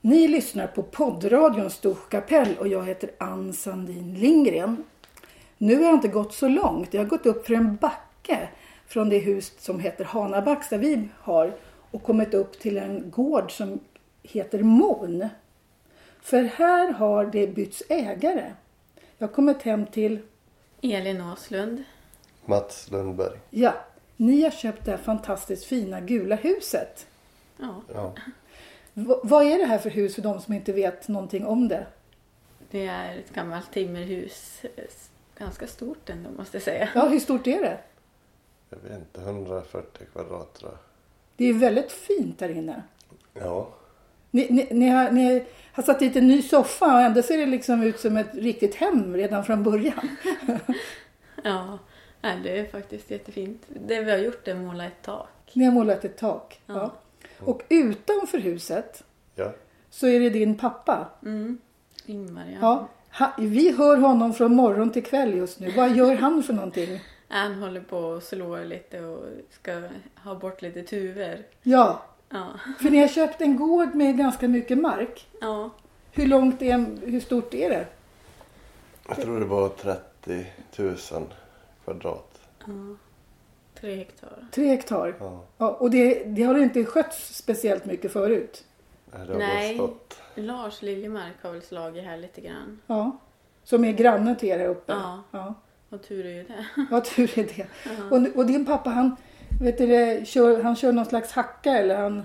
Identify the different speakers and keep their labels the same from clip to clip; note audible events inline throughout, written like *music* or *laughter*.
Speaker 1: Ni lyssnar på poddradion Storkapell och jag heter Ann Sandin Lindgren. Nu har jag inte gått så långt. Jag har gått upp för en backe från det hus som heter Hanabacks där vi har och kommit upp till en gård som heter Mon. För här har det bytts ägare. Jag har kommit hem till,
Speaker 2: Elin Aslund.
Speaker 3: Mats Lundberg.
Speaker 1: ja, ni har köpt det här fantastiskt fina gula huset.
Speaker 2: Ja,
Speaker 3: Ja.
Speaker 1: V- vad är det här för hus för de som inte vet någonting om det?
Speaker 2: det är ett gammalt timmerhus. eh, Ganska stort ändå måste jag säga.
Speaker 1: Ja, hur stort är det?
Speaker 3: Jag vet inte, 140 kvadrat tror jag.
Speaker 1: Det är väldigt fint där inne.
Speaker 3: Ja.
Speaker 1: Ni, ni, ni, har, ni har satt dit en ny soffa och ändå ser det liksom ut som ett riktigt hem redan från början.
Speaker 2: Ja, nej, det är faktiskt jättefint. Det vi har gjort är att måla ett tak.
Speaker 1: Ni har målat ett tak. Ja.
Speaker 2: Ja.
Speaker 1: Och utanför huset
Speaker 3: Ja.
Speaker 1: så är det din pappa.
Speaker 2: Mm. Ingmar, ja.
Speaker 1: Ja. Ha, vi hör honom från morgon till kväll just nu. Vad gör han för någonting?
Speaker 2: Han håller på och slår lite och ska ha bort lite tuver.
Speaker 1: Ja,
Speaker 2: Ja,
Speaker 1: för ni har köpt en gård med ganska mycket mark.
Speaker 2: ja.
Speaker 1: Hur långt är, hur stort är det?
Speaker 3: Jag tror det var 30 000 kvadrat.
Speaker 2: ja. Tre hektar.
Speaker 1: Tre hektar.
Speaker 3: Ja.
Speaker 1: Ja, och det, det har inte skötts speciellt mycket förut.
Speaker 3: Det har
Speaker 2: Nej.
Speaker 3: bara stått.
Speaker 2: Lars Liljemark har väl slagit här lite grann.
Speaker 1: Ja. Som är granne till er här uppe.
Speaker 2: Ja.
Speaker 1: ja.
Speaker 2: Och tur är ju det.
Speaker 1: *laughs* Vad tur är det. Och, nu- och din pappa han, vet du, det, kör, han kör någon slags hacka eller han...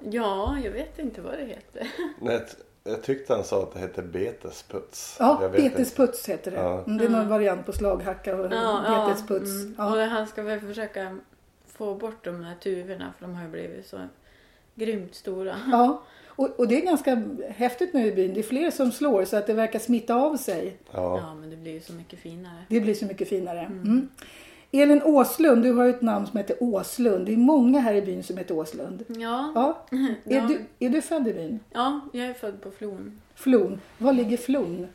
Speaker 2: Ja, jag vet inte vad det heter.
Speaker 3: Nej, jag t- jag tyckte han sa att det hette betesputs.
Speaker 1: Ja,
Speaker 3: jag vet
Speaker 1: betesputs heter det.
Speaker 3: Ja.
Speaker 1: Mm, Det är någon variant på slaghacka och betesputs.
Speaker 2: mm.
Speaker 1: Ja.
Speaker 2: Och han ska väl försöka få bort de här tuvorna för de har ju blivit så grymt stora.
Speaker 1: Ja. Och, och det är ganska häftigt nu i byn. Det är fler som slår så att det verkar smitta av sig.
Speaker 3: Inte. Ja.
Speaker 2: Ja, men det blir ju så mycket finare.
Speaker 1: Det blir så mycket finare. Mm. Elin Åslund, du har ju ett namn som heter Åslund. Det är många här i byn som heter Åslund.
Speaker 2: Ja,
Speaker 1: Ja. Är,
Speaker 2: Ja.
Speaker 1: du, är du född i byn?
Speaker 2: ja jag är född på Flon.
Speaker 1: Flon. Var ligger Flon?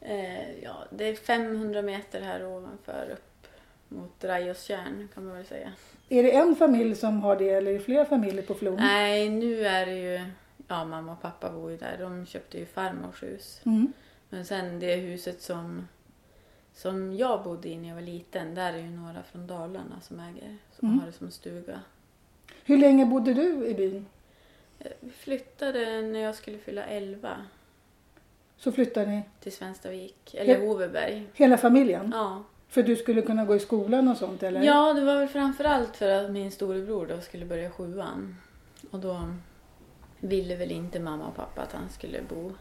Speaker 2: Eh, ja, det är 500 meter här ovanför upp mot Rajåstjärn kan man väl säga.
Speaker 1: Är det en familj som har det eller är det flera familjer på Flon?
Speaker 2: Nej, nu är det ju... Ja, mamma och pappa bor ju där. De köpte ju farmors hus.
Speaker 1: Mm.
Speaker 2: Men sen det huset som, som jag bodde i när jag var liten, där är ju några från Dalarna som äger, som har det som stuga.
Speaker 1: Hur länge bodde du i byn?
Speaker 2: Eh, Vi flyttade när jag skulle fylla 11
Speaker 1: Så flyttade ni
Speaker 2: till Svenstavik, eller
Speaker 1: Ja.
Speaker 2: Hoveberg.
Speaker 1: hela familjen?
Speaker 2: Ja.
Speaker 1: För du skulle kunna gå i skolan och sånt eller?
Speaker 2: ja, det var väl framförallt för att min storebror då skulle börja sjuan. Och då ville väl inte mamma och pappa att han skulle bo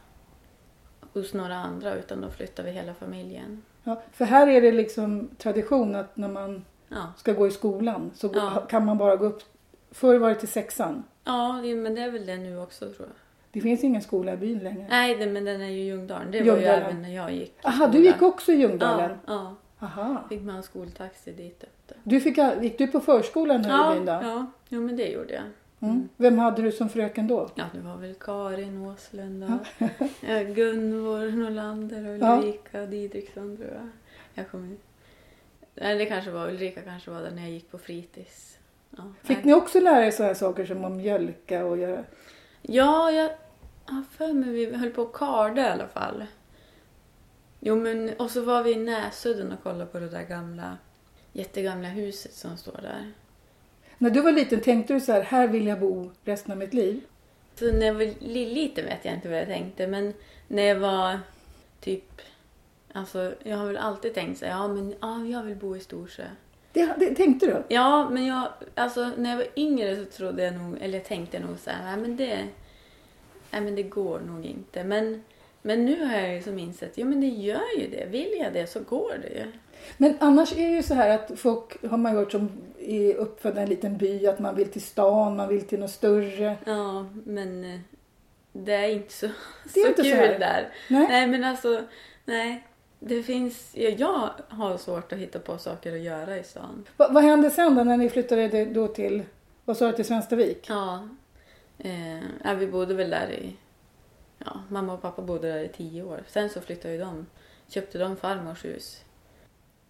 Speaker 2: hos några andra utan då flyttade vi hela familjen.
Speaker 1: Ja, För här är det liksom tradition att när man
Speaker 2: Ja,
Speaker 1: ska gå i skolan så gå-
Speaker 2: Ja.
Speaker 1: kan man bara gå upp. Förr var det till sexan.
Speaker 2: ja det- men det är väl det nu också tror jag.
Speaker 1: Det finns ingen skola i byn längre.
Speaker 2: Nej, det, men den är ju Ljungdalen. Det var
Speaker 1: Ljungdalen.
Speaker 2: ju även när jag gick. i
Speaker 1: Aha, du
Speaker 2: skolan.
Speaker 1: gick också i Ljungdalen?
Speaker 2: Ja, ja.
Speaker 1: Aha.
Speaker 2: Fick man skoltaxi dit upp där.
Speaker 1: Du fick, gick du på förskolan här i
Speaker 2: Ja,
Speaker 1: byn då?
Speaker 2: ja. Jo, men det gjorde jag.
Speaker 1: Mm. Vem hade du som fröken då?
Speaker 2: Ja, det var väl Karin Åslund och *laughs* eh, Gunvor Norlander och
Speaker 1: Ja.
Speaker 2: Ulrika Didriksson tror jag. Jag kommer Nej, det kanske var Ulrika kanske var där när jag gick på fritids. Ja,
Speaker 1: Fick
Speaker 2: nej.
Speaker 1: ni också lära er sådana saker som att mjölka och göra?
Speaker 2: Ja, jag har för mig vi höll på att karda i alla fall. Jo, men och så var vi i Näsudden och kollade på det där gamla, jättegamla huset som står där.
Speaker 1: När du var liten tänkte du så här, här vill jag bo resten av mitt liv?
Speaker 2: Så när jag var li- liten vet jag inte vad jag tänkte, men när jag var typ... Alltså, jag har väl alltid tänkt så här, ja men ja, jag vill bo i Storsjö.
Speaker 1: Det, det tänkte du?
Speaker 2: Ja, men jag, alltså när jag var yngre så trodde jag nog, eller tänkte jag nog så här, nej men det, nej men det går nog inte. Men, men nu har jag ju som insett, ja men det gör ju det. Vill jag det så går det ju.
Speaker 1: Men annars är det ju så här att folk har man hört som är uppfödda i en liten by att man vill till stan, man vill till något större.
Speaker 2: Ja, men eh, det är inte så,
Speaker 1: Det är
Speaker 2: så
Speaker 1: inte så
Speaker 2: kul
Speaker 1: här.
Speaker 2: där.
Speaker 1: Nej.
Speaker 2: nej, men alltså, nej. Det finns, ja, jag har svårt att hitta på saker att göra i stan.
Speaker 1: Va, vad hände sen då när ni flyttade det då till, vad sa du, till Svenstavik?
Speaker 2: Ja. Eh, ja, vi bodde väl där i... Ja, mamma och pappa bodde där i tio år. Sen så flyttade ju de. Köpte de farmors hus.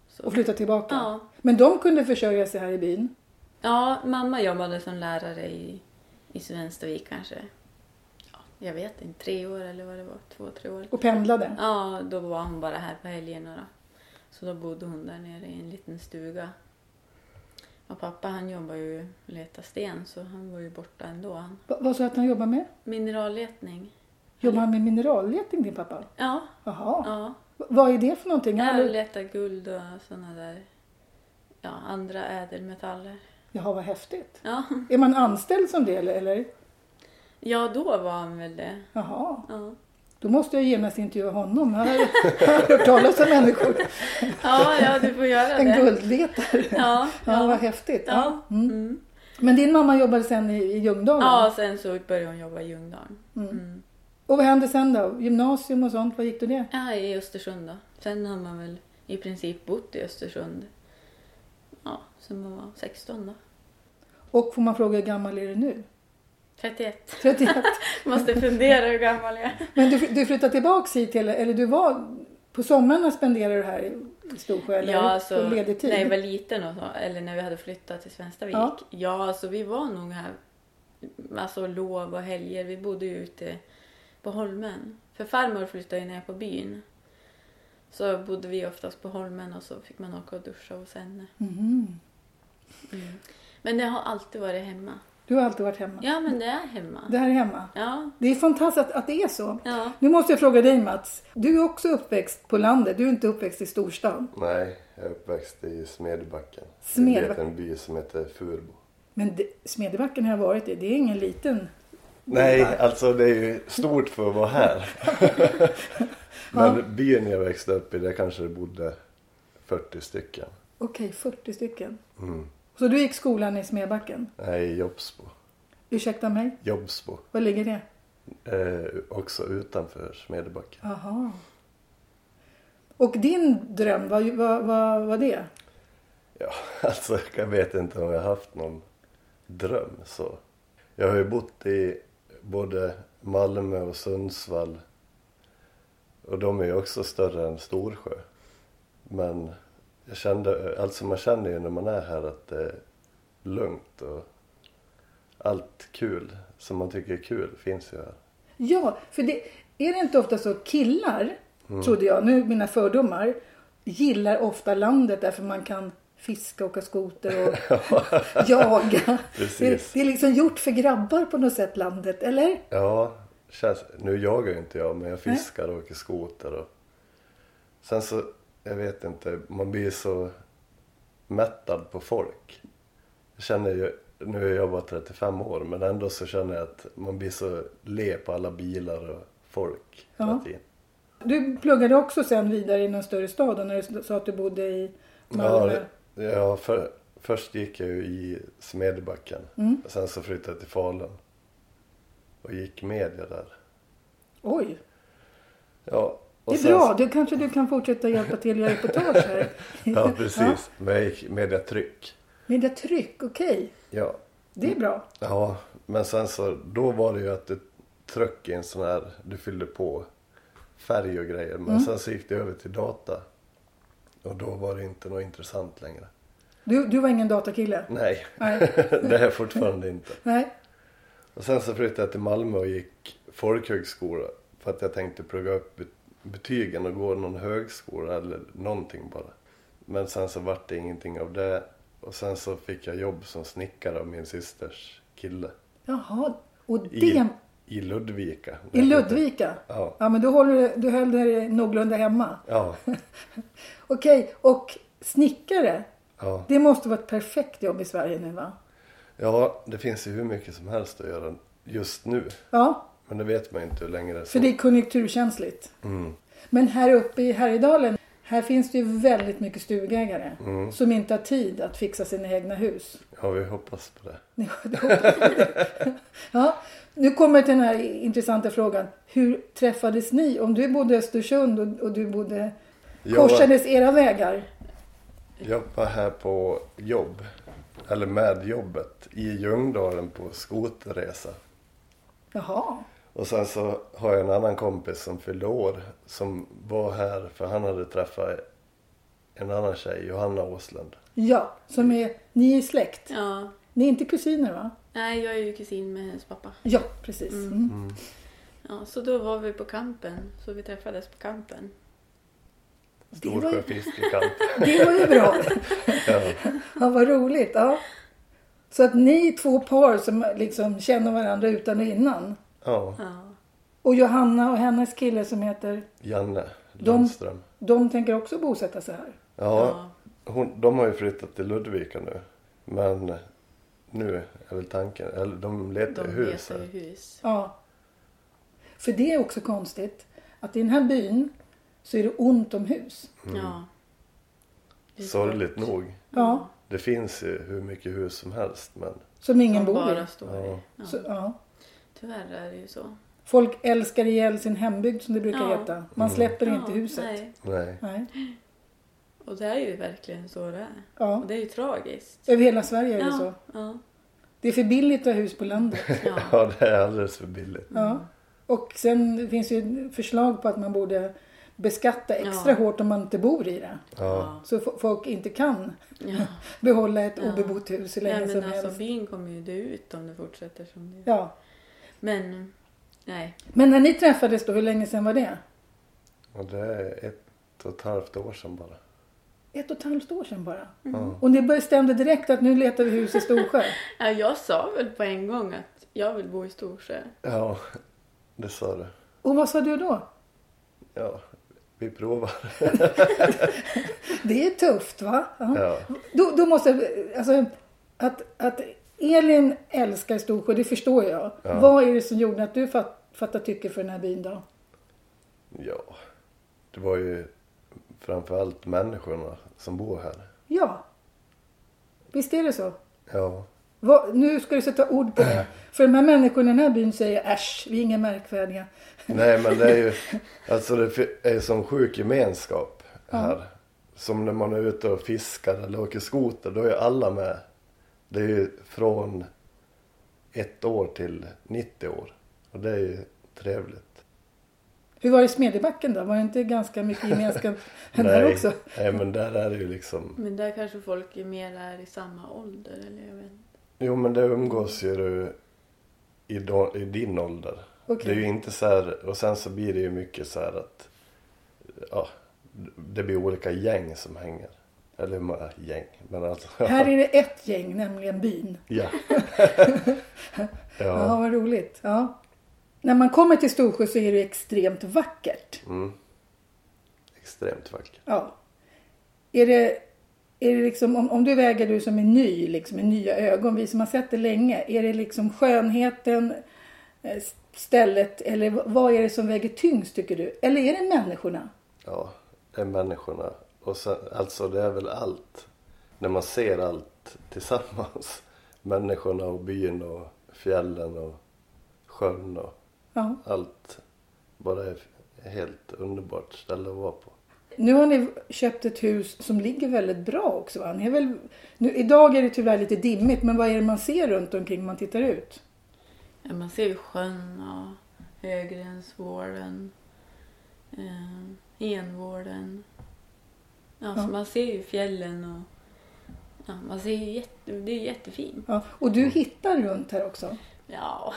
Speaker 2: Så-
Speaker 1: Och flyttade tillbaka?
Speaker 2: Ja.
Speaker 1: Men de kunde försörja sig här i byn?
Speaker 2: Ja, mamma jobbade som lärare i, i Svenstavik kanske. Ja, jag vet inte, tre år eller vad det var, två, tre år.
Speaker 1: Och pendlade?
Speaker 2: Ja, då var hon bara här på helgerna då. Så då bodde hon där nere i en liten stuga. Och pappa han jobbar ju och letar sten så han var ju borta ändå. Han.
Speaker 1: Va- Vad sa du att han jobbar med?
Speaker 2: Mineralletning.
Speaker 1: Jobbar han med mineralletning din pappa?
Speaker 2: Ja,
Speaker 1: Jaha.
Speaker 2: ja.
Speaker 1: V- Vad är det för någonting? Jag har
Speaker 2: Jag
Speaker 1: aldrig-
Speaker 2: letar guld och sådana där, ja, andra ädelmetaller.
Speaker 1: Jaha, vad häftigt.
Speaker 2: Ja.
Speaker 1: Är man anställd som det eller- eller?
Speaker 2: ja, då var han väl det.
Speaker 1: Jaha.
Speaker 2: Ja,
Speaker 1: Då måste jag genast intervjua honom. Jag har jag har *laughs* hört talas om människor.
Speaker 2: ja, ja du får göra
Speaker 1: En
Speaker 2: det.
Speaker 1: guldletare.
Speaker 2: Ja,
Speaker 1: Ja, vad
Speaker 2: ja.
Speaker 1: häftigt.
Speaker 2: Ja.
Speaker 1: Mm.
Speaker 2: Mm.
Speaker 1: Men din mamma jobbade sen i, i Ljungdalen?
Speaker 2: ja, sen så började hon jobba i Ljungdalen.
Speaker 1: Mm.
Speaker 2: Mm.
Speaker 1: Och vad hände sen då? Gymnasium och sånt, vad gick du det?
Speaker 2: Ja, i Östersund då. Sen har man väl i princip bott i Östersund. Ja, sen man var 16 då.
Speaker 1: Och får man fråga hur gammal är du nu? *laughs*
Speaker 2: 31.
Speaker 1: 31.
Speaker 2: Måste fundera hur gammal jag är.
Speaker 1: Men du, du flyttade tillbaks hit eller, eller du var... På somrarna spenderade du här i i Storsjö eller
Speaker 2: Ja, alltså,
Speaker 1: på ledig tid?
Speaker 2: när jag var liten och så, eller när vi hade flyttat till Svenstavik.
Speaker 1: Ja.
Speaker 2: Ja, alltså vi var nog här, alltså lov och helger. Vi bodde ju ute på Holmen. För farmor flyttade ju ner på byn. Så bodde vi oftast på Holmen och så fick man åka och duscha hos henne.
Speaker 1: Mhm.
Speaker 2: Men det har alltid varit hemma.
Speaker 1: Du har alltid varit hemma.
Speaker 2: Ja, men det är hemma.
Speaker 1: Det här är hemma.
Speaker 2: Ja,
Speaker 1: Det är fantastiskt att, att det är så.
Speaker 2: ja.
Speaker 1: Nu måste jag fråga dig Mats. Du är också uppväxt på landet. Du är inte uppväxt i storstan.
Speaker 3: Nej, jag är uppväxt i Smedjebacken.
Speaker 1: Smedjebacken.
Speaker 3: Det är en by som heter Furbo.
Speaker 1: Men det, Smedjebacken har jag varit i. Det är ingen liten.
Speaker 3: Nej, alltså det är ju stort för att vara här. Men byn jag växte upp i, där kanske det bodde 40 stycken.
Speaker 1: Okej, 40 stycken.
Speaker 3: Mm.
Speaker 1: Så du gick skolan i Smedjebacken.
Speaker 3: Nej, Jobsbo.
Speaker 1: Ursäkta mig,
Speaker 3: Jobsbo.
Speaker 1: var ligger det?
Speaker 3: Eh, också utanför Smedjebacken.
Speaker 1: Aha. Och din dröm, vad var, var, var det?
Speaker 3: Ja, *laughs* alltså jag vet inte om jag har haft någon dröm så. Jag har ju bott i både Malmö och Sundsvall. Och de är ju också större än Storsjö. Men jag kände, alltså man känner ju när man är här att det är lugnt och allt kul som man tycker är kul finns ju här.
Speaker 1: Ja, för det är det inte ofta så killar,
Speaker 3: Mm.
Speaker 1: trodde jag, nu mina fördomar, gillar ofta landet därför man kan fiska, åka
Speaker 3: *laughs*
Speaker 1: skoter och jaga.
Speaker 3: Precis.
Speaker 1: Det, är- det är liksom gjort för grabbar på något sätt, landet, eller?
Speaker 3: Ja, känns, nu jagar ju inte jag men jag fiskar och åker skoter och sen så, jag vet inte, man blir så mättad på folk. Jag känner ju, nu är jag bara 35 år men ändå så känner jag att man blir så le på alla bilar och folk hela
Speaker 1: Ja.
Speaker 3: tiden.
Speaker 1: Du pluggade också sen vidare i någon större stad och när du sa att du bodde i Malmö.
Speaker 3: Ja, ja för, först gick jag ju i Smedjebacken
Speaker 1: Mm.
Speaker 3: och sen så flyttade jag till Falun och gick media där.
Speaker 1: Oj,
Speaker 3: Ja, och
Speaker 1: det är
Speaker 3: sen
Speaker 1: bra. Du, kanske du kan fortsätta hjälpa till och göra reportage här.
Speaker 3: *laughs* Ja, precis. Men jag gick mediatryck.
Speaker 1: Mediatryck, okej.
Speaker 3: Ja.
Speaker 1: Det är bra.
Speaker 3: ja, men sen så, då var det ju att du tryck i en sån här, du fyllde på färg och grejer. Men sen så gick det över till data. Och då var det inte något intressant längre.
Speaker 1: Du, du var ingen datakille?
Speaker 3: Nej,
Speaker 1: Nej.
Speaker 3: *laughs* det är jag fortfarande inte.
Speaker 1: Nej.
Speaker 3: Och sen så flyttade jag till Malmö och gick folkhögskola. För att jag tänkte plugga upp bet- betygen och gå någon högskola eller någonting bara. Men sen så vart det ingenting av det. Och sen så fick jag jobb som snickare av min systers kille.
Speaker 1: Jaha, och det
Speaker 3: I,
Speaker 1: i,
Speaker 3: i Ludvika.
Speaker 1: Ludvika?
Speaker 3: Ja.
Speaker 1: Ja, men du, håller, du höll dig någorlunda hemma.
Speaker 3: Ja,
Speaker 1: Okej, och snickare?
Speaker 3: ja.
Speaker 1: Det måste vara ett perfekt jobb i Sverige nu va?
Speaker 3: ja, det finns ju hur mycket som helst att göra just nu.
Speaker 1: Ja,
Speaker 3: Men det vet man ju inte hur länge det är Mm.
Speaker 1: för
Speaker 3: så.
Speaker 1: det är konjunkturkänsligt. Men här uppe i Härjedalen, här finns det ju väldigt mycket stugägare
Speaker 3: Mm.
Speaker 1: som inte har tid att fixa sina egna hus.
Speaker 3: Ja, vi hoppas på det.
Speaker 1: Ja, nu kommer till den här intressanta frågan. Hur träffades ni? Om du bodde i Östersund och, och du bodde...
Speaker 3: Jag var-
Speaker 1: Korsades era vägar?
Speaker 3: Jag var här på jobb, eller med jobbet, i Ljungdalen på skoterresa.
Speaker 1: Jaha.
Speaker 3: Och sen så har jag en annan kompis som fyllde år som var här för han hade träffat en annan tjej, Johanna Åslund.
Speaker 1: Ja, som är... Ni är släkt.
Speaker 2: ja.
Speaker 1: Ni är inte kusiner va?
Speaker 2: Nej, jag är ju kusin med hennes pappa.
Speaker 1: Ja, precis. Mm.
Speaker 2: Ja, så då var vi på kampen, så vi träffades på kampen.
Speaker 1: Det var, ju,
Speaker 3: Storsjöfiskekamp.
Speaker 1: det var ju bra.
Speaker 3: ja.
Speaker 1: Ja, vad roligt. Ja. Så att ni är två par som liksom känner varandra utan och innan.
Speaker 3: ja,
Speaker 2: Ja.
Speaker 1: Och Johanna och hennes kille som heter,
Speaker 3: Janne
Speaker 1: De-
Speaker 3: Lundström.
Speaker 1: de tänker också bosätta sig här.
Speaker 3: Ja, hon, de har ju flyttat till Ludvika nu. Men nu är väl tanken, eller de letar
Speaker 2: de
Speaker 3: ju hus
Speaker 2: letar ju
Speaker 3: här.
Speaker 2: hus.
Speaker 1: Ja. För det är också konstigt att i den här byn så är det ont om hus.
Speaker 2: Ja. Det är
Speaker 3: Mm. Sorgligt
Speaker 2: svårt.
Speaker 3: nog.
Speaker 1: Ja.
Speaker 3: Det finns ju hur mycket hus som helst men
Speaker 1: Som ingen
Speaker 2: Som
Speaker 1: bor i.
Speaker 2: bara står i.
Speaker 3: Ja.
Speaker 2: Ja.
Speaker 1: Så, ja.
Speaker 2: Tyvärr är det ju så.
Speaker 1: Folk älskar ihjäl sin hembygd som det brukar
Speaker 2: Ja.
Speaker 1: heta. Man släpper
Speaker 2: ja,
Speaker 1: inte huset. Nej.
Speaker 2: Nej.
Speaker 3: nej.
Speaker 2: Och det är ju verkligen så det är.
Speaker 1: Ja.
Speaker 2: Och det är ju tragiskt.
Speaker 1: Över hela Sverige är det
Speaker 2: Ja,
Speaker 1: så.
Speaker 2: ja,
Speaker 1: Det är för billigt att ha hus på landet.
Speaker 2: *laughs* ja.
Speaker 3: Ja, det är alldeles för billigt.
Speaker 1: Ja. Och sen finns ju förslag på att man borde beskatta extra
Speaker 2: Ja.
Speaker 1: hårt om man inte bor i det.
Speaker 3: Ja,
Speaker 1: Så fo- folk inte kan
Speaker 2: ja.
Speaker 1: behålla ett
Speaker 2: Ja.
Speaker 1: obebott hus hur länge
Speaker 2: Nej, men
Speaker 1: som
Speaker 2: alltså
Speaker 1: helst.
Speaker 2: byn kommer ju dö ut om det fortsätter som det gör.
Speaker 1: Ja.
Speaker 2: Men, nej.
Speaker 1: Men när ni träffades då, hur länge sedan var det?
Speaker 3: och det är ett och ett halvt år sedan bara.
Speaker 1: Ett och ett halvt år sedan bara.
Speaker 3: Ja.
Speaker 1: Och ni bestämde direkt att nu letar vi hus i Storsjö.
Speaker 2: Ja, Jag sa väl på en gång att jag vill bo i Storsjö.
Speaker 3: ja, det sa du.
Speaker 1: Och vad sa du då?
Speaker 3: Ja, vi provar.
Speaker 1: Det är tufft va? Ja.
Speaker 3: Ja,
Speaker 1: Då, då måste jag, alltså, att, att Elin älskar Storsjö, det förstår jag.
Speaker 3: Ja.
Speaker 1: Vad är det som gjorde att du fat, fattade tycke för den här byn då?
Speaker 3: ja. Det var ju framförallt människorna som bor här.
Speaker 1: Ja, visst är det så?
Speaker 3: Ja,
Speaker 1: Vad, nu ska du sätta ord på det. För de här människorna i den här byn säger äsch, vi är inga märkvärdiga.
Speaker 3: Nej men det är ju,
Speaker 1: *laughs*
Speaker 3: alltså det fi- är som sjuk gemenskap här. Som när man är ute och fiskar eller åker skoter, då är alla med. Det är ju från ett år till 90 år. Och det är ju trevligt.
Speaker 1: Hur var det i Smedjebacken då? Var det inte ganska mycket gemenskap där också?
Speaker 3: *laughs* nej men där är det ju liksom,
Speaker 2: Men där kanske folk är mer är i samma ålder eller jag vet inte.
Speaker 3: jo men det umgås ju du i, då, i din ålder.
Speaker 1: Okej.
Speaker 3: Det är ju inte så här, och sen så blir det ju mycket så här att, ja, det blir olika gäng som hänger. Eller hur många gäng, men alltså.
Speaker 1: Här är det ett gäng, nämligen byn.
Speaker 3: Ja.
Speaker 1: Ja,
Speaker 3: ja.
Speaker 1: vad roligt. Ja. När man kommer till Storsjö så är det extremt vackert.
Speaker 3: Mm. Extremt vackert.
Speaker 1: Ja. Är det, är det liksom, om, om du väger du som är ny, liksom, med nya ögon, vi som har sett det länge, är det liksom skönheten, eh, stället eller v- vad är det som väger tyngst tycker du? Eller är det människorna?
Speaker 3: Ja, det är människorna. Och sen, alltså det är väl allt. När man ser allt tillsammans. *laughs* Människorna och byn och fjällen och sjön och
Speaker 1: Ja.
Speaker 3: allt. Bara är ett helt underbart ställe att vara på.
Speaker 1: Nu har ni köpt ett hus som ligger väldigt bra också. Va? Ni är väl, nu, idag är det tyvärr lite dimmigt, men vad är det man ser runt omkring när man tittar ut?
Speaker 2: Ja, man ser ju sjön och Högränsvården, eh, Envården. Ja,
Speaker 1: Ja.
Speaker 2: Så man ser ju fjällen och ja, man ser ju jätte, det är ju jättefint.
Speaker 1: Ja. Och du hittar runt här också.
Speaker 2: Ja,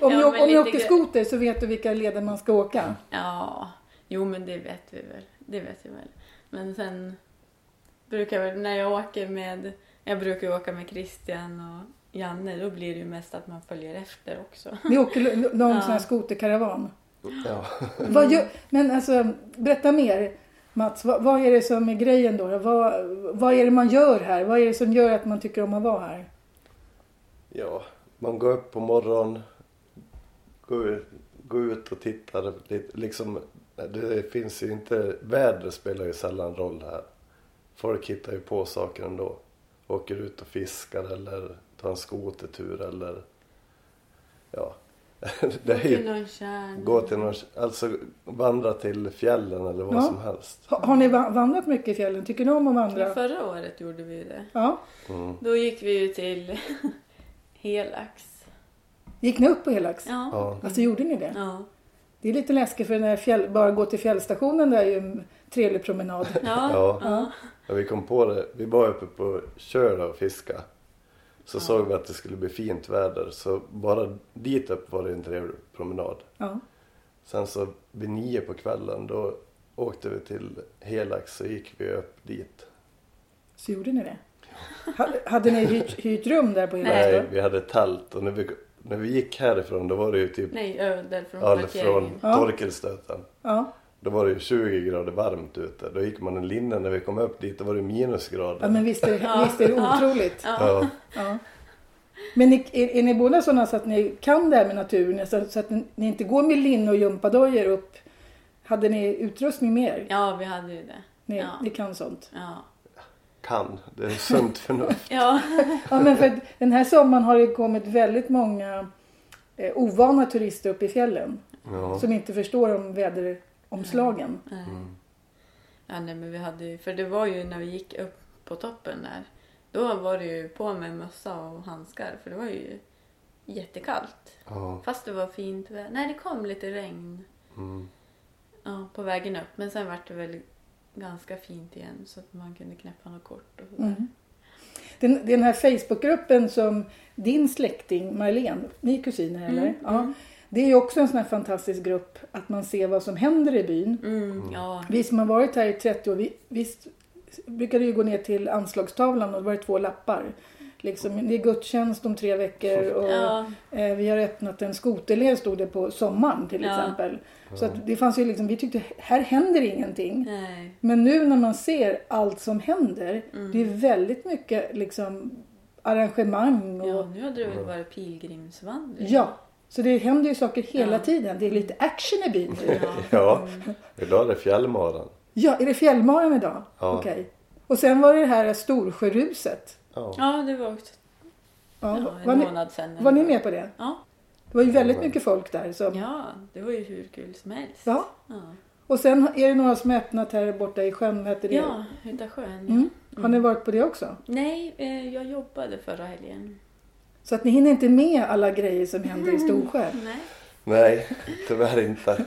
Speaker 1: Om, ni,
Speaker 2: Ja, men
Speaker 1: om ni
Speaker 2: lite
Speaker 1: åker
Speaker 2: gre-
Speaker 1: skoter så vet du vilka leder man ska åka.
Speaker 2: ja, jo men det vet vi väl. Det vet vi väl. Men sen brukar jag väl, när jag åker med, jag brukar ju åka med Christian och Janne, då blir det ju mest att man följer efter också.
Speaker 1: Ni åker l- l- någon
Speaker 2: Ja.
Speaker 1: sån här skoterkaravan.
Speaker 3: Ja.
Speaker 1: Vad gör, men alltså, berätta mer Mats. Vad, vad är det som är grejen då? Vad, vad är det man gör här? Vad är det som gör att man tycker om att vara här?
Speaker 3: Ja, man går upp på morgonen, går, ut- går ut och tittar. Det, liksom, det finns ju inte, väder spelar ju sällan roll här. Folk hittar ju på saker ändå. Åker ut och fiskar eller tar en skotertur eller ja. *laughs* Det
Speaker 2: Gå
Speaker 3: är
Speaker 2: till
Speaker 3: ju,
Speaker 2: någon kärn.
Speaker 3: gå till någon, alltså vandra till fjällen eller vad
Speaker 1: Ja.
Speaker 3: som helst.
Speaker 1: Har, har ni va- vandrat mycket i fjällen? Tycker ni om att vandra?
Speaker 2: Förra året gjorde vi ju det.
Speaker 1: Ja.
Speaker 3: Mm.
Speaker 2: Då gick vi ju till *laughs* Helax.
Speaker 1: Gick ni upp på Helax?
Speaker 2: Ja.
Speaker 3: Ja,
Speaker 1: Alltså gjorde ni det?
Speaker 2: Ja.
Speaker 1: Det är lite läskigt för den här fjäll, bara gå till fjällstationen där är ju en trevlig promenad.
Speaker 2: Ja.
Speaker 3: Ja. ja, vi kom på det. Vi var uppe på Köla och fiska. Så såg vi att det skulle bli fint väder så bara dit upp var det en trevlig promenad.
Speaker 1: Ja.
Speaker 3: Sen så vid nio på kvällen då åkte vi till Helax så gick vi upp dit.
Speaker 1: Så gjorde ni det? Ha- Hade ni hyrt, hyrt rum där på
Speaker 3: Nej,
Speaker 1: Helagstorp?
Speaker 3: vi hade tält och när vi, när vi gick härifrån då var det ju typ
Speaker 2: Nej, ödel från
Speaker 3: all från
Speaker 2: parkeringen.
Speaker 1: Ja.
Speaker 3: torkelstöten.
Speaker 1: Ja.
Speaker 3: Då var det ju 20 grader varmt ute. Då gick man en linne när vi kom upp dit då var det minusgrader.
Speaker 1: ja, men visst är,
Speaker 2: Ja.
Speaker 1: visst är det otroligt?
Speaker 2: Ja.
Speaker 3: Ja.
Speaker 1: Ja. Men ni, är, är ni båda sådana så att ni kan det här med naturen? Alltså, Så, så att ni, ni inte går med linne och gympadojor upp? Hade ni utrustning med er?
Speaker 2: ja, vi hade ju det.
Speaker 1: Ni,
Speaker 2: Ja.
Speaker 1: ni kan sånt?
Speaker 2: Ja.
Speaker 3: Kan, det är
Speaker 2: *laughs*
Speaker 3: sunt förnuft.
Speaker 2: Ja.
Speaker 1: Ja, men för att den här sommaren har det kommit väldigt många eh, ovana turister upp i fjällen
Speaker 3: Ja. Mm.
Speaker 1: som inte förstår om väderomslagen.
Speaker 2: Nej. Ja, nej, men vi hade ju, för det var ju när vi gick upp på toppen där. Då var det ju på med mössa och handskar för det var ju jättekallt.
Speaker 3: Ja.
Speaker 2: Fast det var fint väder. Nej, det kom lite regn
Speaker 3: Mm.
Speaker 2: ja, på vägen upp. Men sen var det väl ganska fint igen så att man kunde knäppa något kort och sådär.
Speaker 1: Mm. Den, den här Facebookgruppen som din släkting Marlene, ni är kusiner eller?
Speaker 2: Mm,
Speaker 1: Ja.
Speaker 2: mm.
Speaker 1: Det är ju också en sån här fantastisk grupp att man ser vad som händer i byn.
Speaker 2: Mm, ja.
Speaker 1: Vi som har varit här i 30 år, vi, visst brukade ju gå ner till anslagstavlan och då var det två lappar. Liksom, det är gudstjänst om tre veckor och
Speaker 2: Ja,
Speaker 1: Eh, Vi har öppnat en skoterled stod det på sommaren till
Speaker 2: Ja.
Speaker 1: exempel. Så att det fanns ju liksom, vi tyckte här händer ingenting.
Speaker 2: nej. Mm.
Speaker 1: Men nu när man ser allt som händer, det är väldigt mycket liksom arrangemang och
Speaker 2: Ja,
Speaker 1: ja.
Speaker 2: nu hade det väl varit pilgrimsvandring.
Speaker 1: *laughs* Så det händer ju saker hela
Speaker 2: Ja.
Speaker 1: tiden. Det är lite action i byn nu.
Speaker 3: Ja, idag är det fjällmaran.
Speaker 1: Ja, är det fjällmaren idag?
Speaker 3: Ja.
Speaker 1: Okej. Och sen var det det här Storsjöruset.
Speaker 3: Ja.
Speaker 2: Ja, det var också
Speaker 1: Ja,
Speaker 2: ja,
Speaker 1: var,
Speaker 2: en
Speaker 1: ni,
Speaker 2: månad sedan.
Speaker 1: var ni med på det?
Speaker 2: Ja.
Speaker 1: Det var ju väldigt
Speaker 3: men-
Speaker 1: mycket folk där. Som,
Speaker 2: Ja, det var ju hur kul som helst.
Speaker 1: ja.
Speaker 2: Ja,
Speaker 1: Och sen är det några som har öppnat här borta i sjön. Vad heter det?
Speaker 2: ja Hytta sjön.
Speaker 1: Mm. Har ni varit på det också?
Speaker 2: Nej, eh, jag jobbade förra helgen.
Speaker 1: Så att ni hinner inte med alla grejer som händer
Speaker 2: Mm.
Speaker 1: i Storsjö?
Speaker 2: Nej.
Speaker 3: Nej, tyvärr inte.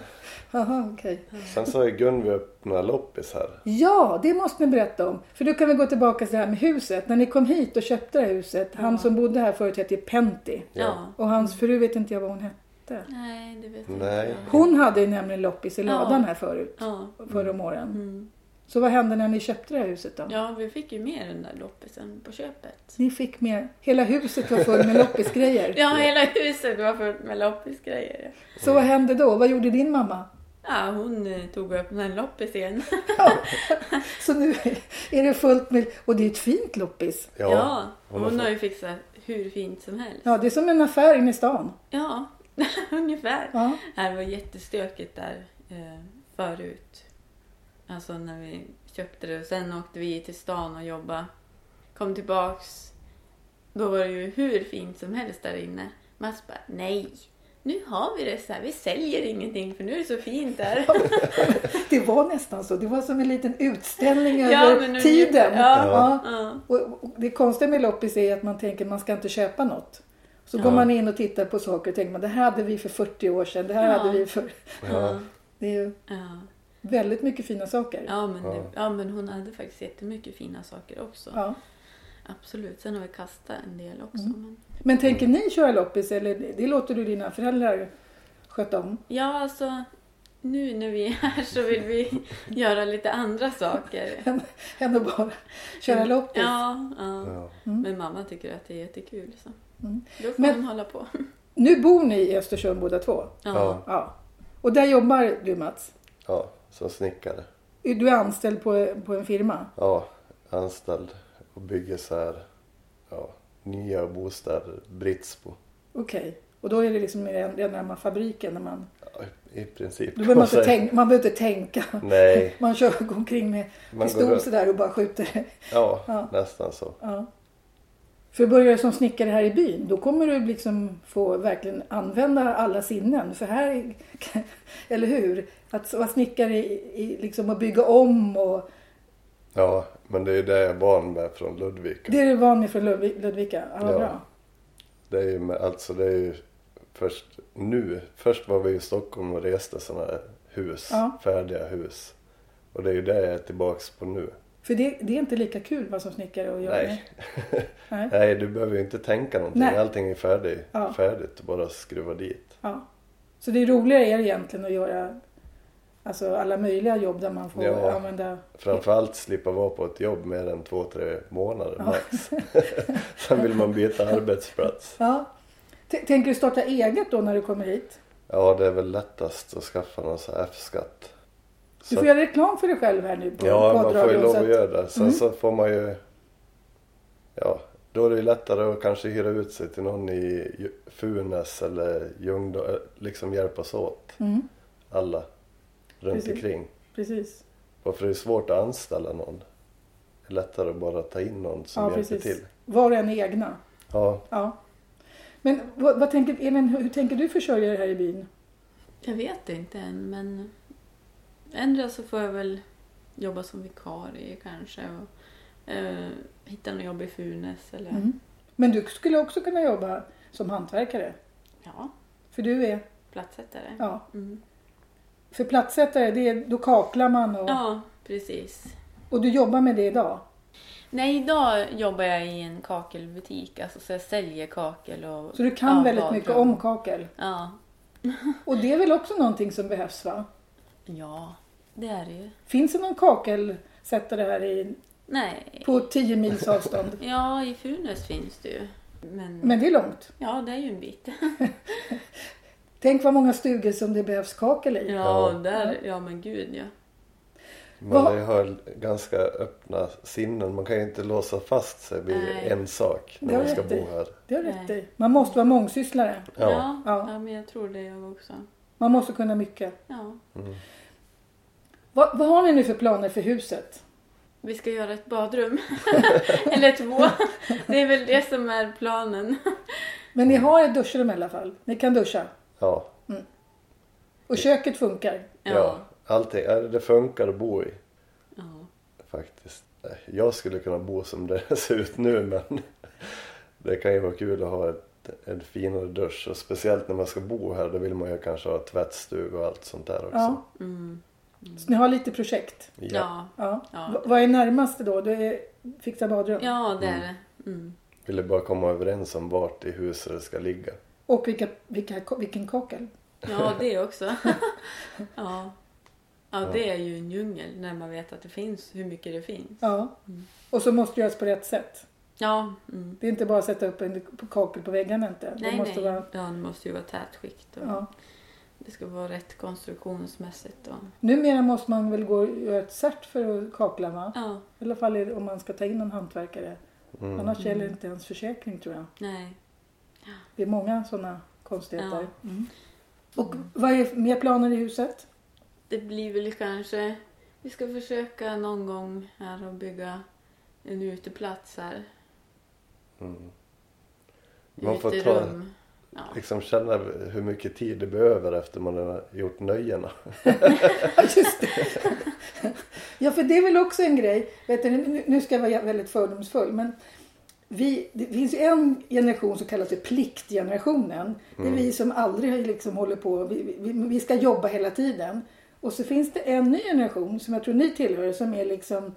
Speaker 1: Haha, okej.
Speaker 3: Sen så är Gunvi upp några loppis här.
Speaker 1: Ja, det måste ni berätta om. För då kan vi gå tillbaka till det här med huset. När ni kom hit och köpte det här huset, han som bodde här förut hette ju Pentti.
Speaker 2: Ja.
Speaker 1: Och hans fru vet inte jag vad hon hette.
Speaker 2: Nej, det vet
Speaker 3: Nej.
Speaker 2: inte jag.
Speaker 1: Hon hade ju nämligen loppis i
Speaker 2: Ja.
Speaker 1: ladan här förut,
Speaker 2: Ja.
Speaker 1: förra om åren.
Speaker 2: Mm.
Speaker 1: Så vad hände när ni köpte det här huset då?
Speaker 2: ja, vi fick ju med den där loppisen på köpet.
Speaker 1: Ni fick med, hela huset var fullt med
Speaker 2: *laughs*
Speaker 1: loppisgrejer.
Speaker 2: Ja, hela huset var fullt med loppisgrejer.
Speaker 1: Så vad hände då? Vad gjorde din mamma?
Speaker 2: Ja, hon eh, tog upp en loppis igen.
Speaker 1: *laughs* Så nu är det fullt med, och det är ett fint loppis.
Speaker 2: *laughs* Ja,
Speaker 3: hon
Speaker 2: hon,
Speaker 3: har fått-
Speaker 2: har ju fixat hur fint som helst.
Speaker 1: Ja, det är som en affär inne i stan.
Speaker 2: Ja, *laughs* ungefär.
Speaker 1: Ja.
Speaker 2: Här var jättestökigt där eh, förut. Alltså när vi köpte det. Och sen åkte vi till stan och jobbade. Kom tillbaks. Då var det ju hur fint som helst där inne. Mats bara, nej. Nu har vi det så här. Vi säljer ingenting för nu är det så fint där.
Speaker 1: *laughs* Det var nästan så. Det var som en liten utställning
Speaker 2: Ja, men
Speaker 1: över
Speaker 2: ungefär.
Speaker 1: tiden.
Speaker 2: Ja.
Speaker 1: Ja.
Speaker 2: ja.
Speaker 1: Och och det konstiga med loppis är att man tänker man ska inte köpa något. Så går
Speaker 3: Ja.
Speaker 1: man in och tittar på saker och tänker man det här hade vi för 40 år sedan. Det här
Speaker 2: Ja.
Speaker 1: hade vi för...
Speaker 3: Ja.
Speaker 1: Det är ju
Speaker 2: Ja.
Speaker 1: väldigt mycket fina saker.
Speaker 2: Ja, men det,
Speaker 3: Ja.
Speaker 2: ja, men hon hade faktiskt jättemycket fina saker också.
Speaker 1: Ja.
Speaker 2: Absolut. Sen har vi kastat en del också.
Speaker 1: Mm.
Speaker 2: Men...
Speaker 1: Men tänker ni köra loppis eller det låter du dina föräldrar sköta om?
Speaker 2: Ja, alltså nu när vi är här så vill *laughs* vi göra lite andra saker.
Speaker 1: Än- Än att bara köra loppis?
Speaker 2: Ja, ja.
Speaker 3: Ja.
Speaker 2: men mamma tycker att det är jättekul. Så.
Speaker 1: Mm.
Speaker 2: Då får
Speaker 1: Men-
Speaker 2: de hålla på.
Speaker 1: Nu bor ni i Östersund båda två?
Speaker 2: Ja.
Speaker 1: Ja. Och där jobbar du Mats?
Speaker 3: ja, som snickare.
Speaker 1: Du är anställd på, på en firma?
Speaker 3: Ja, anställd och bygger så här, ja, nya bostäder, Britsbo.
Speaker 1: Okej. Och då är det liksom redan redan närmare fabriken. När man,
Speaker 3: Ja, I princip.
Speaker 1: då behöver man, inte
Speaker 3: Så-
Speaker 1: tänka, man behöver inte tänka.
Speaker 3: Nej,
Speaker 1: Man kör går omkring med
Speaker 3: Man går
Speaker 1: pistol
Speaker 3: runt.
Speaker 1: sådär och bara skjuter.
Speaker 3: ja,
Speaker 1: Ja.
Speaker 3: nästan så.
Speaker 1: Ja. För börjar du som snickare här i byn, då kommer du liksom få verkligen använda alla sinnen. För här, är- *laughs* eller hur? Att vara snickare i, i, liksom och bygga om och
Speaker 3: Ja, men det är ju det jag är van med från Ludvika.
Speaker 1: det är du van med från Ludvi- Ludvika. Ja, vad
Speaker 3: Ja.
Speaker 1: bra.
Speaker 3: Det är ju, med- alltså det är ju först nu. Först var vi i Stockholm och reste sådana här hus,
Speaker 1: Ja.
Speaker 3: färdiga hus. Och det är ju det jag är tillbaks på nu.
Speaker 1: För det, det är inte lika kul vad som snickare och göra
Speaker 3: Nej.
Speaker 1: Nej.
Speaker 3: *laughs* Nej, du behöver ju inte tänka någonting.
Speaker 1: Nej.
Speaker 3: Allting är färdig,
Speaker 1: Ja.
Speaker 3: färdigt. Bara skruva dit.
Speaker 1: Ja. Så det roligare är egentligen att göra alltså, alla möjliga jobb där man får
Speaker 3: Ja.
Speaker 1: använda...
Speaker 3: Framförallt slippa vara på ett jobb mer än två, tre månader
Speaker 1: Ja.
Speaker 3: max. *laughs* Sen vill man byta arbetsplats.
Speaker 1: Ja. T- Tänker du starta eget då när du kommer hit?
Speaker 3: Ja, det är väl lättast att skaffa någon sån här F-skatt.
Speaker 1: Du
Speaker 3: Så-
Speaker 1: får göra reklam för dig själv här nu på
Speaker 3: Ja, man får ju
Speaker 1: poddradion,
Speaker 3: lov
Speaker 1: så
Speaker 3: att
Speaker 1: att-
Speaker 3: göra det. Sen
Speaker 1: Mm.
Speaker 3: så får man ju... Ja, då är det ju lättare att kanske hyra ut sig till någon i Ju- Funäs eller Ljungdal. Liksom hjälpas åt,
Speaker 1: Mm,
Speaker 3: alla runt
Speaker 1: Precis.
Speaker 3: omkring.
Speaker 1: precis.
Speaker 3: Varför det är svårt att anställa någon. Det är lättare att bara ta in någon som
Speaker 1: Ja,
Speaker 3: hjälper
Speaker 1: precis.
Speaker 3: till.
Speaker 1: Var och en är egna.
Speaker 3: Ja,
Speaker 1: Ja. Men vad, vad tänker, Elin, hur hur tänker du försörja dig här i byn?
Speaker 2: Jag vet inte än, men ändå så får jag väl jobba som vikarie kanske och eh, hitta något jobb i Funäs eller...
Speaker 1: Mm. Men du skulle också kunna jobba som hantverkare.
Speaker 2: Ja,
Speaker 1: För du är...
Speaker 2: platsättare.
Speaker 1: Ja.
Speaker 2: Mm.
Speaker 1: För platsättare, det är, då kaklar man och,
Speaker 2: ja, precis.
Speaker 1: och du jobbar med det idag?
Speaker 2: Nej, idag jobbar jag i en kakelbutik, alltså så jag säljer kakel och...
Speaker 1: Så du kan
Speaker 2: ja,
Speaker 1: väldigt
Speaker 2: badrum.
Speaker 1: mycket om kakel.
Speaker 2: Ja.
Speaker 1: Och det är väl också någonting som behövs va?
Speaker 2: ja, det är det ju.
Speaker 1: Finns det någon kakelsättare här i,
Speaker 2: Nej,
Speaker 1: på 10 mils avstånd?
Speaker 2: ja i Funäs finns det ju. Men,
Speaker 1: Men det är långt.
Speaker 2: ja, det är ju en bit.
Speaker 1: Tänk vad många stugor som det behövs kakel i.
Speaker 2: Ja,
Speaker 3: Ja.
Speaker 2: där, ja men gud ja.
Speaker 3: man
Speaker 1: Vad-
Speaker 3: har ganska öppna sinnen. Man kan ju inte låsa fast sig vid
Speaker 2: Nej.
Speaker 3: en sak
Speaker 1: Det
Speaker 3: när
Speaker 1: har
Speaker 3: man ska
Speaker 1: rätt i.
Speaker 3: bo här.
Speaker 1: Det har du
Speaker 2: Nej.
Speaker 1: rätt i. Man måste vara mångsysslare.
Speaker 3: Ja.
Speaker 2: Ja,
Speaker 1: Ja.
Speaker 2: ja. men jag tror det jag också.
Speaker 1: Man måste kunna mycket.
Speaker 2: Ja.
Speaker 3: Mm.
Speaker 1: Vad, vad har ni nu för planer för huset?
Speaker 2: Vi ska göra ett badrum. Eller två. Det är väl det som är planen.
Speaker 1: Men ni har ett duschrum i alla fall. Ni kan duscha.
Speaker 3: Ja.
Speaker 1: Och köket funkar.
Speaker 2: Ja.
Speaker 3: ja. Allting. ja, Det funkar att bo i
Speaker 2: Ja.
Speaker 3: faktiskt. Nej, Jag skulle kunna bo som det *laughs* ser ut nu men det kan ju vara kul att ha ett, en finare dusch. Och speciellt när man ska bo här då vill man ju kanske ha tvättstuga och allt sånt där också.
Speaker 1: Ja.
Speaker 2: Mm.
Speaker 1: Så ni har lite projekt.
Speaker 2: ja.
Speaker 1: Ja.
Speaker 2: Ja.
Speaker 1: V- vad är närmaste då? Du är fixa badrum.
Speaker 2: Ja, det är det. Mm.
Speaker 3: Ville bara komma överens om vart i huset det ska ligga.
Speaker 1: Och vilka, vilka, vilken kakel.
Speaker 2: Ja, det
Speaker 1: *laughs*
Speaker 2: också. ja. ja, det är ju en djungel när man vet att det finns, hur mycket det finns.
Speaker 1: Ja.
Speaker 2: Mm.
Speaker 1: Och så måste det göras på rätt sätt.
Speaker 2: Ja, mm.
Speaker 1: Det är inte bara att sätta upp en kakel på väggarna inte.
Speaker 2: nej,
Speaker 1: det måste
Speaker 2: nej.
Speaker 1: vara...
Speaker 2: Ja, det måste ju vara tätskikt och
Speaker 1: Ja.
Speaker 2: det ska vara rätt konstruktionsmässigt. Och...
Speaker 1: Numera måste man väl gå och göra ett cert för att kakla va?
Speaker 2: Ja,
Speaker 1: I alla fall är- om man ska ta in en hantverkare.
Speaker 3: Mm.
Speaker 1: Annars gäller inte ens försäkring tror jag.
Speaker 2: nej.
Speaker 1: Det är många sådana konstigheter. Mm. Och vad är mer planer i huset?
Speaker 2: Det blir väl kanske... Vi ska försöka någon gång här och bygga en uteplats här.
Speaker 3: Mm. Man får ta,
Speaker 2: Uterum. Ja.
Speaker 3: liksom känna hur mycket tid det behöver efter man har gjort nöjena.
Speaker 1: Ja, just det. ja, för det är väl också en grej. Vet du, nu nu ska jag vara väldigt fördomsfull. Men vi, det finns ju en generation som kallas för pliktgenerationen. Det är vi som aldrig har liksom håller på. Vi, vi, vi ska jobba hela tiden. Och så finns det en ny generation som jag tror ni tillhör som är liksom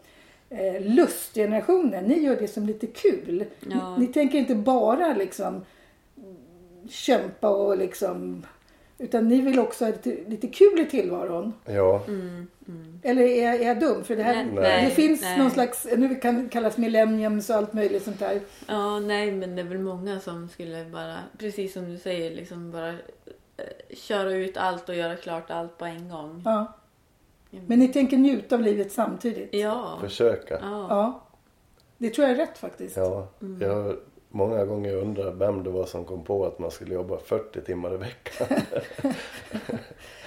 Speaker 1: eh, lustgenerationen. Ni gör det som lite kul.
Speaker 2: Ja.
Speaker 1: Ni, ni tänker inte bara liksom kämpa och liksom utan ni vill också ha lite, lite kul i tillvaron.
Speaker 3: Ja,
Speaker 2: Mm, mm.
Speaker 1: Eller är jag, är jag dum? För det, här,
Speaker 2: Nej,
Speaker 3: nej,
Speaker 1: det finns
Speaker 2: nej.
Speaker 1: någon slags, nu kan det kallas millenniums och allt möjligt sånt där.
Speaker 2: Ja, nej, men det är väl många som skulle bara, precis som du säger, liksom bara eh, köra ut allt och göra klart allt på en gång.
Speaker 1: Ja. Men ni tänker njuta av livet samtidigt?
Speaker 2: Ja.
Speaker 3: försöka.
Speaker 2: Ja.
Speaker 1: Ja. Det tror jag är rätt faktiskt.
Speaker 3: Ja, jag har många gånger undrat vem det var som kom på att man skulle jobba 40 timmar i veckan.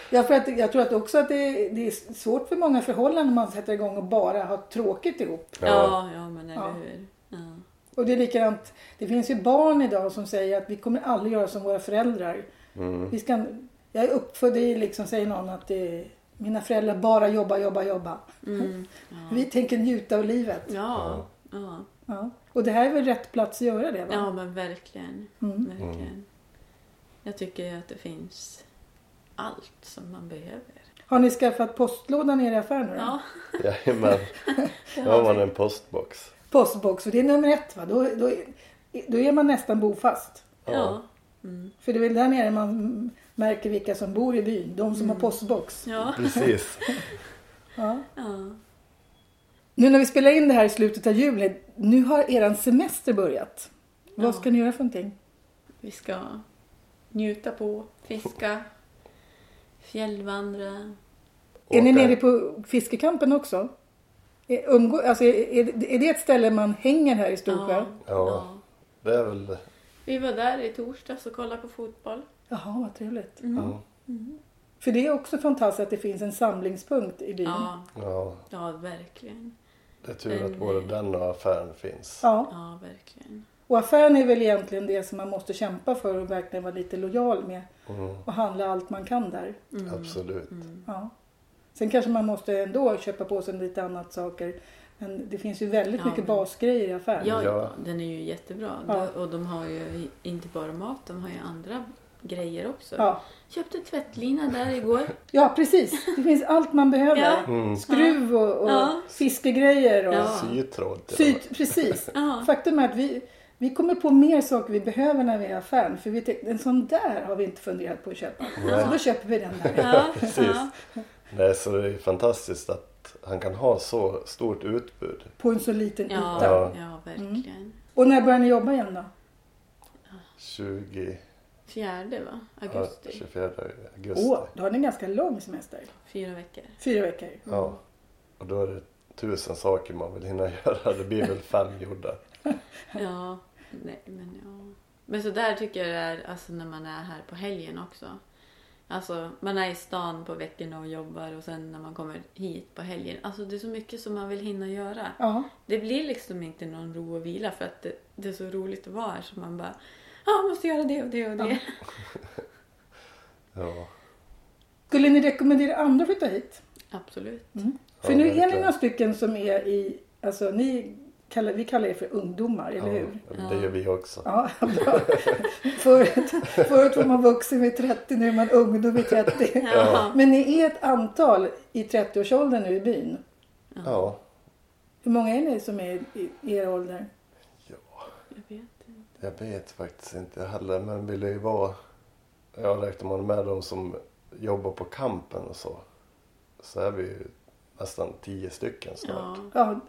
Speaker 1: Ja, för att, jag tror att också att det, det är svårt för många förhållanden om man sätter igång och bara har tråkigt ihop.
Speaker 2: Ja, ja, men eller
Speaker 1: Ja.
Speaker 2: hur. Ja.
Speaker 1: Och det är likadant, det finns ju barn idag som säger att vi kommer aldrig göra som våra föräldrar.
Speaker 3: Mm.
Speaker 1: Vi ska, jag är uppfödd i, liksom, säger någon, att det, mina föräldrar bara jobba, jobba, jobba.
Speaker 2: Mm.
Speaker 1: Vi tänker njuta av livet.
Speaker 2: Ja. Ja.
Speaker 1: Ja. Och det här är väl rätt plats att göra det? Va?
Speaker 2: ja, men verkligen.
Speaker 1: Mm.
Speaker 2: verkligen. Jag tycker att det finns allt som man behöver.
Speaker 1: Har ni skaffat postlåda nere i affären nu då?
Speaker 2: Ja.
Speaker 3: Jajamän. Nu har man en postbox.
Speaker 1: Postbox, för det är nummer ett va? Då, då, då är man nästan bofast.
Speaker 2: Ja. Mm.
Speaker 1: För det är väl där nere man märker vilka som bor i byn, de som har postbox.
Speaker 2: Ja.
Speaker 3: Precis.
Speaker 1: Ja.
Speaker 2: ja.
Speaker 1: Nu när vi spelar in det här i slutet av juli, nu har eran semester börjat. Vad ska ni göra för någonting?
Speaker 2: Vi ska njuta på, fiska, fjällvandra.
Speaker 1: *laughs* Är ni
Speaker 3: Åka-
Speaker 1: nere på fiskekampen också? Är, umgå, alltså, är, är, är det ett ställe man hänger här i Storsjö?
Speaker 3: Ja. Det är väl...
Speaker 2: Vi var där i torsdags och kollade på fotboll.
Speaker 1: Jaha, vad trevligt.
Speaker 3: Ja.
Speaker 1: Mm. För det är också fantastiskt att det finns en samlingspunkt i byn.
Speaker 2: Ja,
Speaker 3: ja.
Speaker 2: ja verkligen.
Speaker 3: Det är tur att både den och affären finns.
Speaker 1: Eh. Ja,
Speaker 2: Ja, verkligen.
Speaker 1: och affären är väl egentligen det som man måste kämpa för och verkligen vara lite lojal med
Speaker 3: Mm.
Speaker 1: och handla allt man kan där.
Speaker 2: Mm.
Speaker 3: Absolut.
Speaker 1: Ja. Sen kanske man måste ändå köpa på sig lite annat saker. Men det finns ju väldigt
Speaker 2: Ja,
Speaker 1: mycket
Speaker 2: men-
Speaker 1: basgrejer i affären.
Speaker 2: Ja,
Speaker 3: Ja.
Speaker 2: den är ju jättebra.
Speaker 1: Ja.
Speaker 2: Och de har ju inte bara mat, de har ju andra grejer också.
Speaker 1: Ja.
Speaker 2: Köpte tvättlina där igår.
Speaker 3: *laughs*
Speaker 1: ja, precis. Det finns allt man behöver.
Speaker 2: Ja.
Speaker 3: Mm.
Speaker 1: Skruv och, och
Speaker 2: Ja.
Speaker 1: fiskegrejer och
Speaker 2: Ja.
Speaker 3: Sytråd till och med.
Speaker 1: syt. Precis.
Speaker 2: Ja.
Speaker 1: Faktum är att vi, vi kommer på mer saker vi behöver när vi är i affären. För vi tänkte, en sån där har vi inte funderat på att köpa. Så Alltså, då köper vi den där.
Speaker 2: Ja,
Speaker 3: Precis.
Speaker 2: ja.
Speaker 3: Mm. Nej, så det är fantastiskt att han kan ha så stort utbud.
Speaker 1: På en så liten yta.
Speaker 2: Ja,
Speaker 3: Ja.
Speaker 2: ja, verkligen.
Speaker 1: Och när börjar ni jobba igen då?
Speaker 3: 20...
Speaker 2: Fjärde va?
Speaker 3: ja,
Speaker 2: Augusti.
Speaker 3: 24 augusti.
Speaker 1: Åh, då har ni en ganska lång semester.
Speaker 2: Fyra veckor.
Speaker 1: Fyra veckor.
Speaker 3: Ja. Och då är det tusen saker man vill hinna *laughs* göra. Det blir väl fem gjorda.
Speaker 2: Ja, nej men ja. Men så där tycker jag det är alltså, när man är här på helgen också. Alltså man är i stan på veckorna och jobbar och sen när man kommer hit på helgen. Alltså det är så mycket som man vill hinna göra.
Speaker 1: Ja.
Speaker 2: Det blir liksom inte någon ro och vila för att det, det är så roligt att vara här så man bara Ja, ah, måste göra det och det och det.
Speaker 3: Ja.
Speaker 1: Skulle ni rekommendera andra att flytta hit?
Speaker 2: *laughs* Absolut.
Speaker 1: För
Speaker 3: Ja,
Speaker 1: nu är ni
Speaker 3: verkligen.
Speaker 1: några stycken som är i, alltså ni kallar, vi kallar er för ungdomar, eller hur?
Speaker 3: Ja, det gör vi också.
Speaker 1: Ja, bra. *laughs* Förut, förut var man vuxen vid 30, nu är man ungdom vid 30.
Speaker 2: Ja.
Speaker 1: Men ni är ett antal i 30-årsåldern nu i byn.
Speaker 3: Ja.
Speaker 1: Hur många är ni som är i i er ålder?
Speaker 2: Jag vet inte.
Speaker 3: Jag vet faktiskt inte heller, men vill ju vara... Ja, räknar man med de som jobbar på kampen och så, så är vi ju nästan tio stycken snart.
Speaker 2: Ja.
Speaker 1: Ja,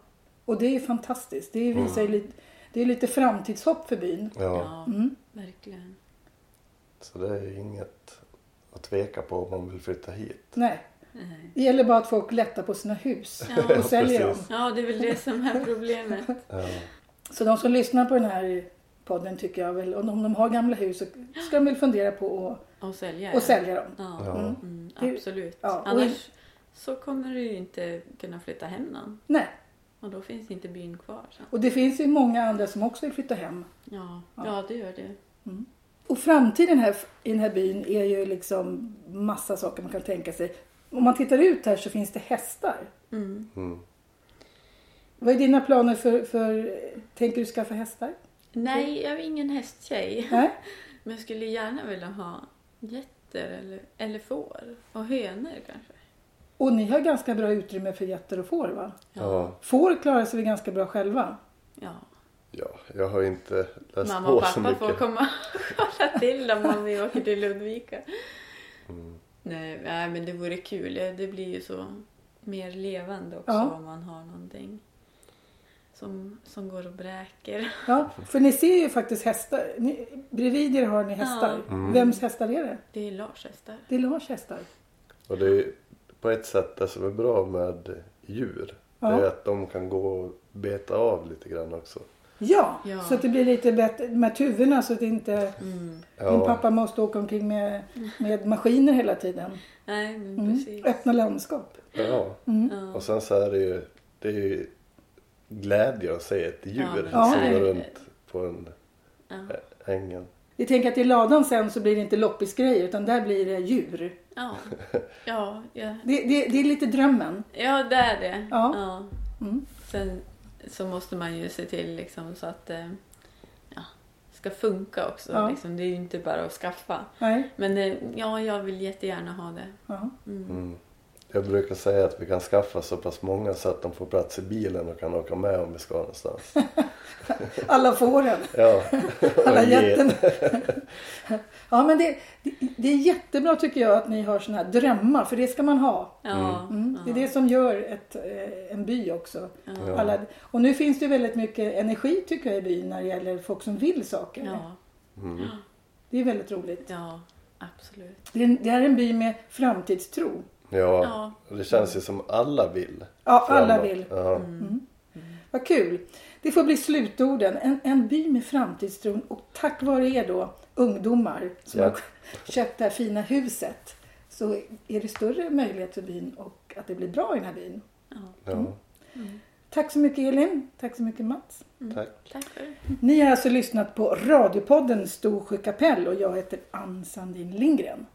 Speaker 1: och det är ju fantastiskt. Det visar ju lite, det är lite framtidshopp för byn. Mm.
Speaker 3: Ja.
Speaker 2: Ja, verkligen.
Speaker 3: Så det är ju inget att tveka på om man vill flytta hit.
Speaker 1: Nej,
Speaker 2: Nej.
Speaker 1: det gäller bara att folk lättar på sina hus *laughs*
Speaker 2: Ja.
Speaker 1: och säljer dem.
Speaker 3: Precis.
Speaker 2: Ja, det är väl det som är problemet.
Speaker 3: Ja,
Speaker 1: Så de som lyssnar på den här podden tycker jag väl, om de har gamla hus så ska de väl fundera på att
Speaker 2: Och sälja.
Speaker 1: och
Speaker 2: ja.
Speaker 1: sälja dem.
Speaker 2: Ja,
Speaker 3: Ja.
Speaker 2: Mm,
Speaker 1: Det-
Speaker 2: absolut.
Speaker 1: ja, och-
Speaker 2: Annars så kommer du ju inte kunna flytta hem någon.
Speaker 1: Nej,
Speaker 2: Och då finns inte byn kvar. Så.
Speaker 1: och det finns ju många andra som också vill flytta hem.
Speaker 2: Ja, ja, det gör det.
Speaker 1: Och framtiden här i den här byn är ju liksom massa saker man kan tänka sig. Om man tittar ut här så finns det hästar.
Speaker 2: Mm.
Speaker 1: Vad är dina planer för, för tänker du skaffa hästar?
Speaker 2: Nej, jag är ingen hästtjej.
Speaker 1: Nej?
Speaker 2: Men jag skulle gärna vilja ha getter eller, eller får. Och hönor kanske.
Speaker 1: Och ni har ganska bra utrymme för getter och får va?
Speaker 3: ja.
Speaker 1: Får klarar sig väl ganska bra själva?
Speaker 2: Ja.
Speaker 3: ja jag har ju inte läst
Speaker 2: Mamma
Speaker 3: på
Speaker 2: och
Speaker 3: så
Speaker 2: pappa
Speaker 3: mycket.
Speaker 2: får komma och kolla till dem om vi åker till Ludvika.
Speaker 3: Mm.
Speaker 2: Nej, nej, men det vore kul. Ja, Det blir ju så mer levande också
Speaker 1: Ja.
Speaker 2: om man har någonting som, som går och bräker.
Speaker 1: Ja, för ni ser ju faktiskt hästar. Ni, bredvid er har ni hästar. Vems hästar är det?
Speaker 2: Det är Lars hästar.
Speaker 1: Det är Lars hästar.
Speaker 3: Och det är ju på ett sätt det som är bra med djur. Det är
Speaker 1: Ja.
Speaker 3: att de kan gå och beta av lite grann också.
Speaker 1: Ja,
Speaker 2: Ja.
Speaker 1: så att det blir lite bättre med tuvorna så att inte
Speaker 2: Mm.
Speaker 1: din
Speaker 3: Ja,
Speaker 1: pappa måste åka omkring med, med maskiner hela tiden. Mm.
Speaker 2: Nej, men precis.
Speaker 1: Öppna landskap. Mm.
Speaker 3: ja. Och sen så är det ju, det är ju glädje att se ett djur
Speaker 2: Ja,
Speaker 3: som
Speaker 2: men-
Speaker 3: går runt på en
Speaker 2: Ja.
Speaker 3: ä, ängen.
Speaker 1: Vi tänker att i ladan sen så blir det inte loppisgrejer utan där blir det djur.
Speaker 2: Ja, ja, ja.
Speaker 1: Det, det, det är lite drömmen.
Speaker 2: ja det är det.
Speaker 1: Ja.
Speaker 2: Mm. Sen så måste man ju se till liksom så att det ja, ska funka också.
Speaker 1: Ja.
Speaker 2: Liksom. Det är ju inte bara att skaffa.
Speaker 1: Nej?
Speaker 2: Men eh, ja, jag vill jättegärna ha det.
Speaker 1: Ja.
Speaker 3: Mm. jag brukar säga att vi kan skaffa så pass många så att de får plats i bilen och kan åka med om vi ska
Speaker 1: *laughs*
Speaker 3: någonstans.
Speaker 1: Alla fåren,
Speaker 3: Ja.
Speaker 1: alla
Speaker 3: Och ge-
Speaker 1: jätten. *laughs* Ja, men det, det, det är jättebra tycker jag att ni har såna här drömmar, för det ska man ha.
Speaker 2: Ja.
Speaker 1: Mm. Det är det som gör ett, eh, en by också.
Speaker 3: Ja.
Speaker 1: Alla, och nu finns det ju väldigt mycket energi tycker jag i byn när det gäller folk som vill saker.
Speaker 2: Ja.
Speaker 3: Mm.
Speaker 1: Det är väldigt roligt.
Speaker 2: ja, absolut.
Speaker 1: Det är, en- det är en by med framtidstro.
Speaker 3: Ja,
Speaker 2: Ja.
Speaker 3: och det känns ju som alla vill.
Speaker 1: Ja, alla
Speaker 3: framåt.
Speaker 1: vill.
Speaker 3: Ja.
Speaker 1: Mm. Vad kul! Det får bli slutorden. En, en by med framtidstron och tack vare er då ungdomar som
Speaker 3: Ja.
Speaker 1: har köpt det här fina huset så är det större möjlighet för byn och att det blir bra i den här byn.
Speaker 2: Ja.
Speaker 1: Mm.
Speaker 2: Mm.
Speaker 3: Ja.
Speaker 1: Tack så mycket Elin. Tack så mycket Mats.
Speaker 3: Tack.
Speaker 2: Tack för det.
Speaker 1: Ni har alltså lyssnat på radiopodden Storsjö kapell och jag heter Ann Sandin Lindgren.